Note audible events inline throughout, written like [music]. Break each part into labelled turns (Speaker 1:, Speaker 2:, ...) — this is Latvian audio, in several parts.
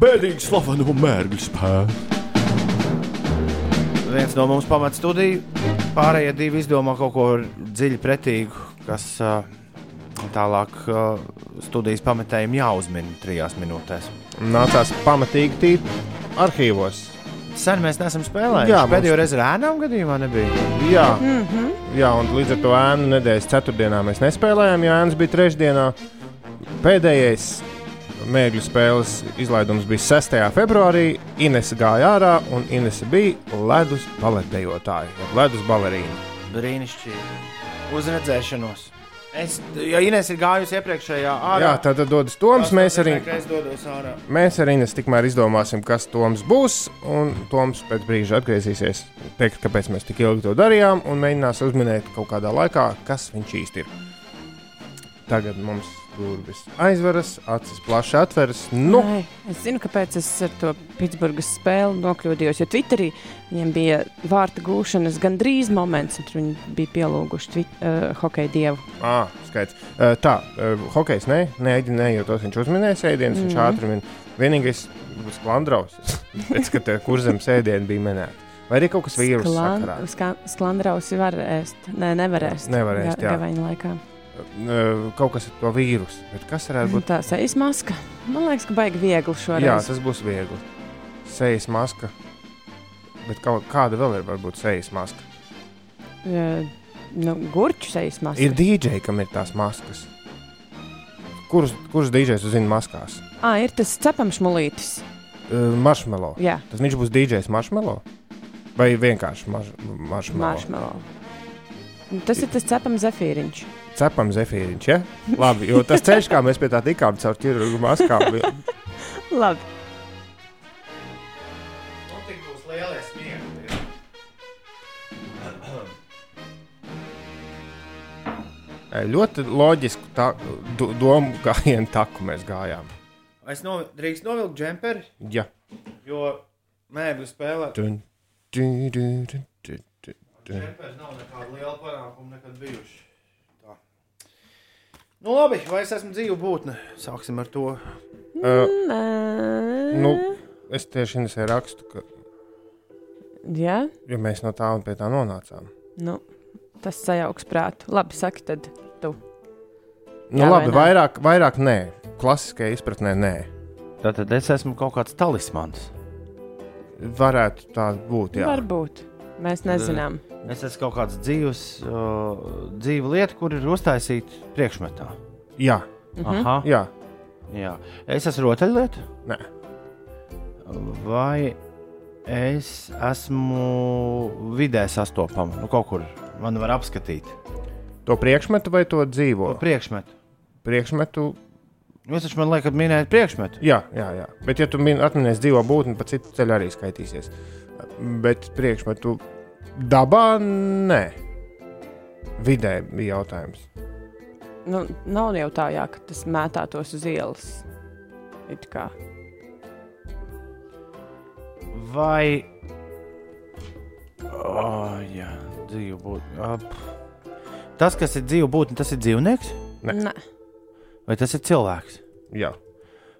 Speaker 1: Bēdīgi slaveno mērķu spēku.
Speaker 2: Viens no mums pamat studiju, pārējie divi izdomā kaut ko dziļi pretīgu, kas uh, tālāk uh, studijas pametējiem jāuzmina trijās minūtēs.
Speaker 3: Nācās pamatīgi tīt arhīvos.
Speaker 2: Sen mēs neesam spēlējuši.
Speaker 3: Jā,
Speaker 2: Jā,
Speaker 3: mums-
Speaker 2: pēdējo reizi ar ēnām gadījumā nebija.
Speaker 3: Jā, mm -hmm. jā un līdz ar to ēnu nedēļas ceturtdienā mēs nespēlējām, jo ēnas bija trešdienā. Pēdējais mēģļu spēles izlaidums bija 6. februārī. Ines gāja ārā, un Ines bija ledus baletdejotāja, jeb ledus balerīna.
Speaker 2: Brīnišķīgi. Uzredzēšanos. Es, ja Inês ir gājusi iepriekšējā ārā,
Speaker 3: Jā, tad dodas Toms. Mēs arī,
Speaker 2: Es dodos ārā.
Speaker 3: mēs arī Ines tikmēr izdomāsim, kas Toms būs. Un Toms pēc brīža atgriezīsies, teiks, kāpēc mēs tik ilgi to darījām, un mēģinās uzminēt kaut kādā laikā, kas viņš īsti ir. Tagad mums durvis aizveras, acis plaši atveras. Nu,
Speaker 4: Nē, es zinu, kāpēc es ar to Pitsburgas spēli nokļūdījos. Jo Twitterī viņiem bija vārta gūšanas gandrīz moments, un tur viņi bija pielūguši twit, uh, hokeja dievu.
Speaker 3: à, skaidrs. Uh, tā, uh, hokejs nē, nē, ēdi nē, jo tos viņš uzminēja sēdienas, viņš
Speaker 4: Mhm.
Speaker 3: ātri min. Vienīgais būs [laughs] klandraus, pēc ka te kurzem sēdienu bija minēta. Vai arī kaut kas vīrusu sakarā.
Speaker 4: Sklandrausi var ēst. Nē, nevarēs.
Speaker 3: Nevar ēst, jā.
Speaker 4: Gavēņa laikā.
Speaker 3: Uh, kaut kas ar to vīrusu. Bet kas varētu būt?
Speaker 4: Tā sejas maska. Man liekas, ka baigi viegli šoreiz.
Speaker 3: Jā, tas būs viegli. Sejas maska. Bet kaut kāda vēl ir, varbūt, sejas maska.
Speaker 4: Eh, nu, gurķu sejas maska.
Speaker 3: Ir dīdžeji, kam ir tās maskas. Kurus, kurus dīdžejs uzzina maskās?
Speaker 4: À, ir tas cepams mulītis.
Speaker 3: Uh, marshmallow.
Speaker 4: Jā,
Speaker 3: Tas viņš būs dīdžejs marshmallow? Vai vienkārši maž, marshmallow?
Speaker 4: marshmallow. Nu, Tas ir tas cepams zefīriņš.
Speaker 3: Cepam zefīriņš, ja? Labi, jo tas ceļš, kā mēs pie tā tikām, caur ķirurgu maskām. bija-
Speaker 4: Labi.
Speaker 3: Ē, Ļoti loģisku tā, do, domu gājienu taku mēs gājām.
Speaker 2: Es no, drīkst novilkt džemperi,
Speaker 3: Ja.
Speaker 2: jo mēģinu spēlēt.
Speaker 3: Dun, dun, dun, dun, dun, dun, dun.
Speaker 2: Džemperi nav nekāda liela panākuma nekad bijuši. Tā. Nu labi, vai es esmu dzīva būtne? Sāksim ar to.
Speaker 3: Ē,
Speaker 4: Nē.
Speaker 3: Nu, es tieši Inesē rakstu, ka
Speaker 4: Jā,
Speaker 3: ja mēs no tā un pie tā nonācām.
Speaker 4: nu, tas sajauks prātu. Labi, saki tad.
Speaker 3: Nu,
Speaker 4: Jā,
Speaker 3: Jā, labi,
Speaker 4: vai nē?
Speaker 3: vairāk, vairāk nē. Klasiskajā izpratnē nē.
Speaker 2: Tātad es esmu kaut kāds talismans.
Speaker 3: Varētu tā būt. Jā. eh,
Speaker 4: Varbūt. Mēs nezinām.
Speaker 2: Es esmu kaut kāds dzīves, uh, dzīva lieta, kur ir uztaisīta priekšmetā.
Speaker 3: Jā,
Speaker 2: Aha,
Speaker 3: jā.
Speaker 2: jā. Es esmu rotaļlieta,
Speaker 3: Nē.
Speaker 2: vai es esmu vidē sastopama? Nu, kaut kur man var apskatīt
Speaker 3: To priekšmetu vai to dzīvo?
Speaker 2: to priekšmetu.
Speaker 3: Priekšmetu.
Speaker 2: Jūs taču man liekat, minējāt priekšmetu.
Speaker 3: Jā, jā, jā. Bet, ja tu min- atminēsi dzīvo būtni, pa citu ceļu arī skaitīsies. Bet priekšmetu dabā nē. Vidē bija jautājums.
Speaker 4: Nu, nav jau tā, jā, ka tas mētātos uz ielas. It kā.
Speaker 2: Vai. Oh, jā, dzīva būtne. Ap. Tas, kas ir dzīva būtne, tas ir dzīvnieks
Speaker 3: Nē.
Speaker 4: Nē.
Speaker 2: vai tas ir cilvēks?
Speaker 3: Jā,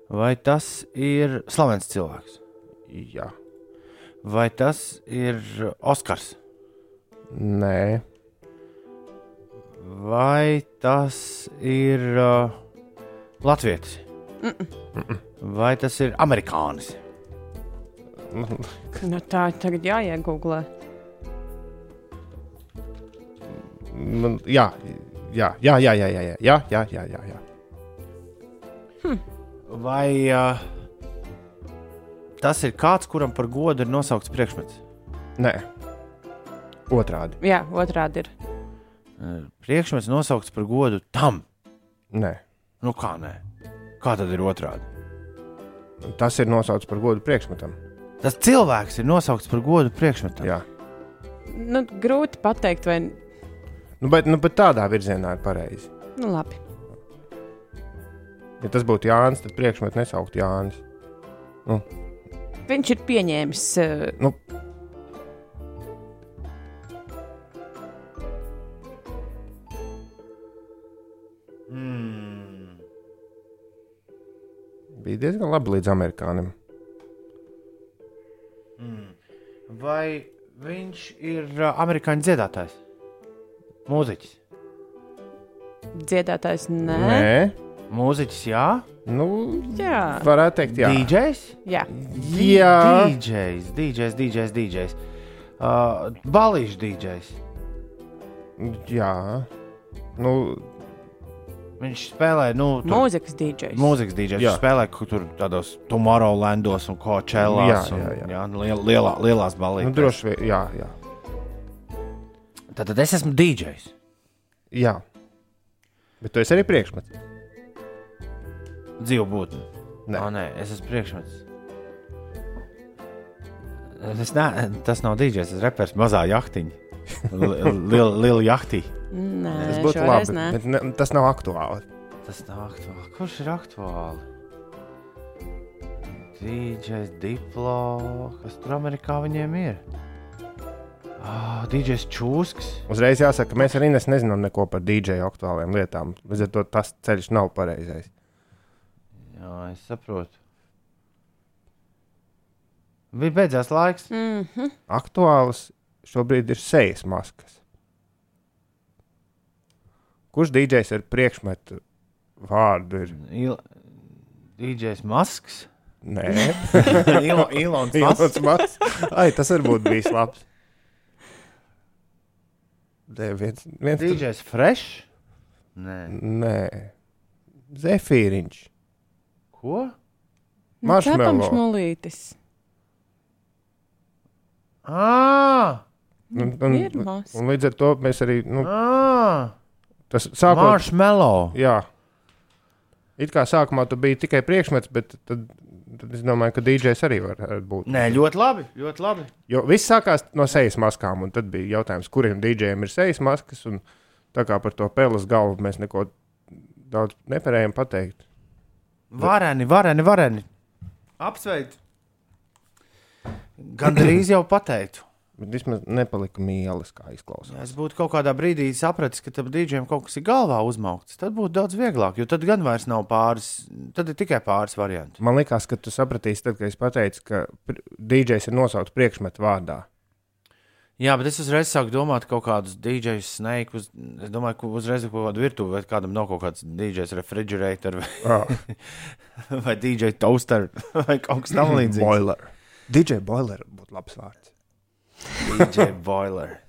Speaker 2: Vai tas ir slavens cilvēks?
Speaker 3: jā.
Speaker 2: Vai tas ir Oskars?
Speaker 3: Nē,
Speaker 2: Vai tas ir uh, Latvijas? Vai tas ir amerikānis?
Speaker 4: Nu, tā ir tagad jāiegūglē.
Speaker 3: Man, jā, jā, jā, jā, jā, jā, jā, jā, jā, jā, jā, jā.
Speaker 2: Vai uh, tas ir kāds, kuram par godu ir nosaukts priekšmets?
Speaker 3: Nē, otrādi.
Speaker 4: Jā, otrādi ir.
Speaker 2: Uh, Priekšmets nosaukts par godu tam.
Speaker 3: Nē.
Speaker 2: Nu kā nē? Kā tad ir otrādi?
Speaker 3: Tas ir nosaucts par godu priekšmetam.
Speaker 2: Tas cilvēks ir nosaukts par godu priekšmetam.
Speaker 3: Jā,
Speaker 4: Nu, grūti pateikt, vai.
Speaker 3: nu, bet, nu, bet tādā virzienā ir pareizi.
Speaker 4: Nu, labi.
Speaker 3: Ja tas būtu Jānis, tad priekšmetu nesaukt Jānis.
Speaker 4: Viņš ir pieņēmis. Uh,
Speaker 2: Mm.
Speaker 3: Bija diezgan labi līdz amerikānim.
Speaker 2: Vai viņš ir ā, amerikāņu dziedātājs? Mūziķis.
Speaker 4: Dziedātājs nē.
Speaker 3: Nē,
Speaker 2: Mūziķis, jā.
Speaker 3: nu,
Speaker 4: Jā,
Speaker 3: varētu teikt, jā.
Speaker 2: DJs?
Speaker 4: jā.
Speaker 3: Jā,
Speaker 2: DJs, DJs, DJs, DJs. Uh, Balīšu DJs.
Speaker 3: jā. Nu,
Speaker 2: Viņš spēlē, nu, tur,
Speaker 4: mūzikas DJs.
Speaker 2: mūzikas DJs.
Speaker 3: Jā.
Speaker 2: Viņš spēlē, kur tur tādos Tomorrowlandos un Coachellās.
Speaker 3: Jā, jā, jā.
Speaker 2: un, jā nu, liel, lielā, lielās
Speaker 3: nu,
Speaker 2: balītēs.
Speaker 3: droši vien, jā, jā.
Speaker 2: Tātad es esmu DJs.
Speaker 3: jā. Bet tu esi arī priekšmets.
Speaker 2: Dzīvu būtni.
Speaker 3: Nē.
Speaker 2: Ā, nē, es esmu priekšmets. Es ne, tas nav DJs, tas ir reperis mazā jahtiņa. Liela jahtiņa.
Speaker 4: Nē,
Speaker 3: Tas būtu
Speaker 4: šoreiz
Speaker 3: labi,
Speaker 4: nē.
Speaker 3: bet ne, tas nav aktuāli.
Speaker 2: Tas nav aktuāli. Kurš ir aktuāli? DJs, diplo, kas tur Amerikā viņiem ir? Ah, DJs Čūskas.
Speaker 3: Uzreiz jāsaka, ka mēs arī nes- nezinām neko par DJ aktuāliem lietām. Līdz ar to tas ceļš nav pareizais.
Speaker 2: Jā, es saprotu. Bija beidzās laiks.
Speaker 4: Mhm.
Speaker 3: Aktuāls šobrīd ir sejas maskas. Kurš DJs ar priekšmetu vārdu ir?
Speaker 2: Il... DJs Masks.
Speaker 3: Nē,
Speaker 2: Ilo- Ilons
Speaker 3: [laughs]
Speaker 2: Masks.
Speaker 3: Ilons Mats. Ai, tas varbūt bijis labs. Nē, viens, viens tur-
Speaker 2: DJs Fresh. Nē.
Speaker 3: Nē. Zefīriņš.
Speaker 2: Ko?
Speaker 4: Nu,
Speaker 3: Marshmallow.
Speaker 4: Cepams nulītis.
Speaker 2: Ah!
Speaker 3: Un,
Speaker 4: Ir
Speaker 3: un,
Speaker 4: mazs.
Speaker 3: un līdz ar to mēs arī, nu,
Speaker 2: Ah!
Speaker 3: tas sākot,
Speaker 2: Marshmallow.
Speaker 3: Jā. It kā sākumā tu biji tikai priekšmets, bet tad, tad es domāju, ka DJs arī var būt.
Speaker 2: Nē, ļoti labi. Ļoti labi.
Speaker 3: Jo viss sākās no sejas maskām, un tad bija jautājums, kuriem DJiem ir sejas maskas. un Tā kā par to pēles galvu mēs neko daudz nevarējām pateikt.
Speaker 2: Vareni, vareni, vareni. Apsveicu. Gan drīz jau pateicu.
Speaker 3: Bet vismaz nepalika mīlas, kā izklausās.
Speaker 2: Ja es būtu kaut kādā brīdī sapratis, ka tam dīdžiem kaut kas ir galvā uzmaukts, tad būtu daudz vieglāk. Jo tad gan vairs nav pāris, tad ir tikai pāris varianti.
Speaker 3: Man liekas, ka tu sapratīsi, tad, kad es pateicu, ka pr- DJs ir nosaukts priekšmetu vārdā.
Speaker 2: Jā, bet es uzreiz sāku domāt kaut kādus dīdžus, snaikus. Es domāju, ka uzreiz ir kaut kāda virtuve, vai kādam nav kaut kāds dīdžers, refrigerators vai,
Speaker 3: Ah,
Speaker 2: [laughs] vai dīdžers toaster [laughs] vai kaut kas tamlīdzīgs.
Speaker 3: Boiler. DJ boiler būtu labs vārds.
Speaker 2: DJ boiler.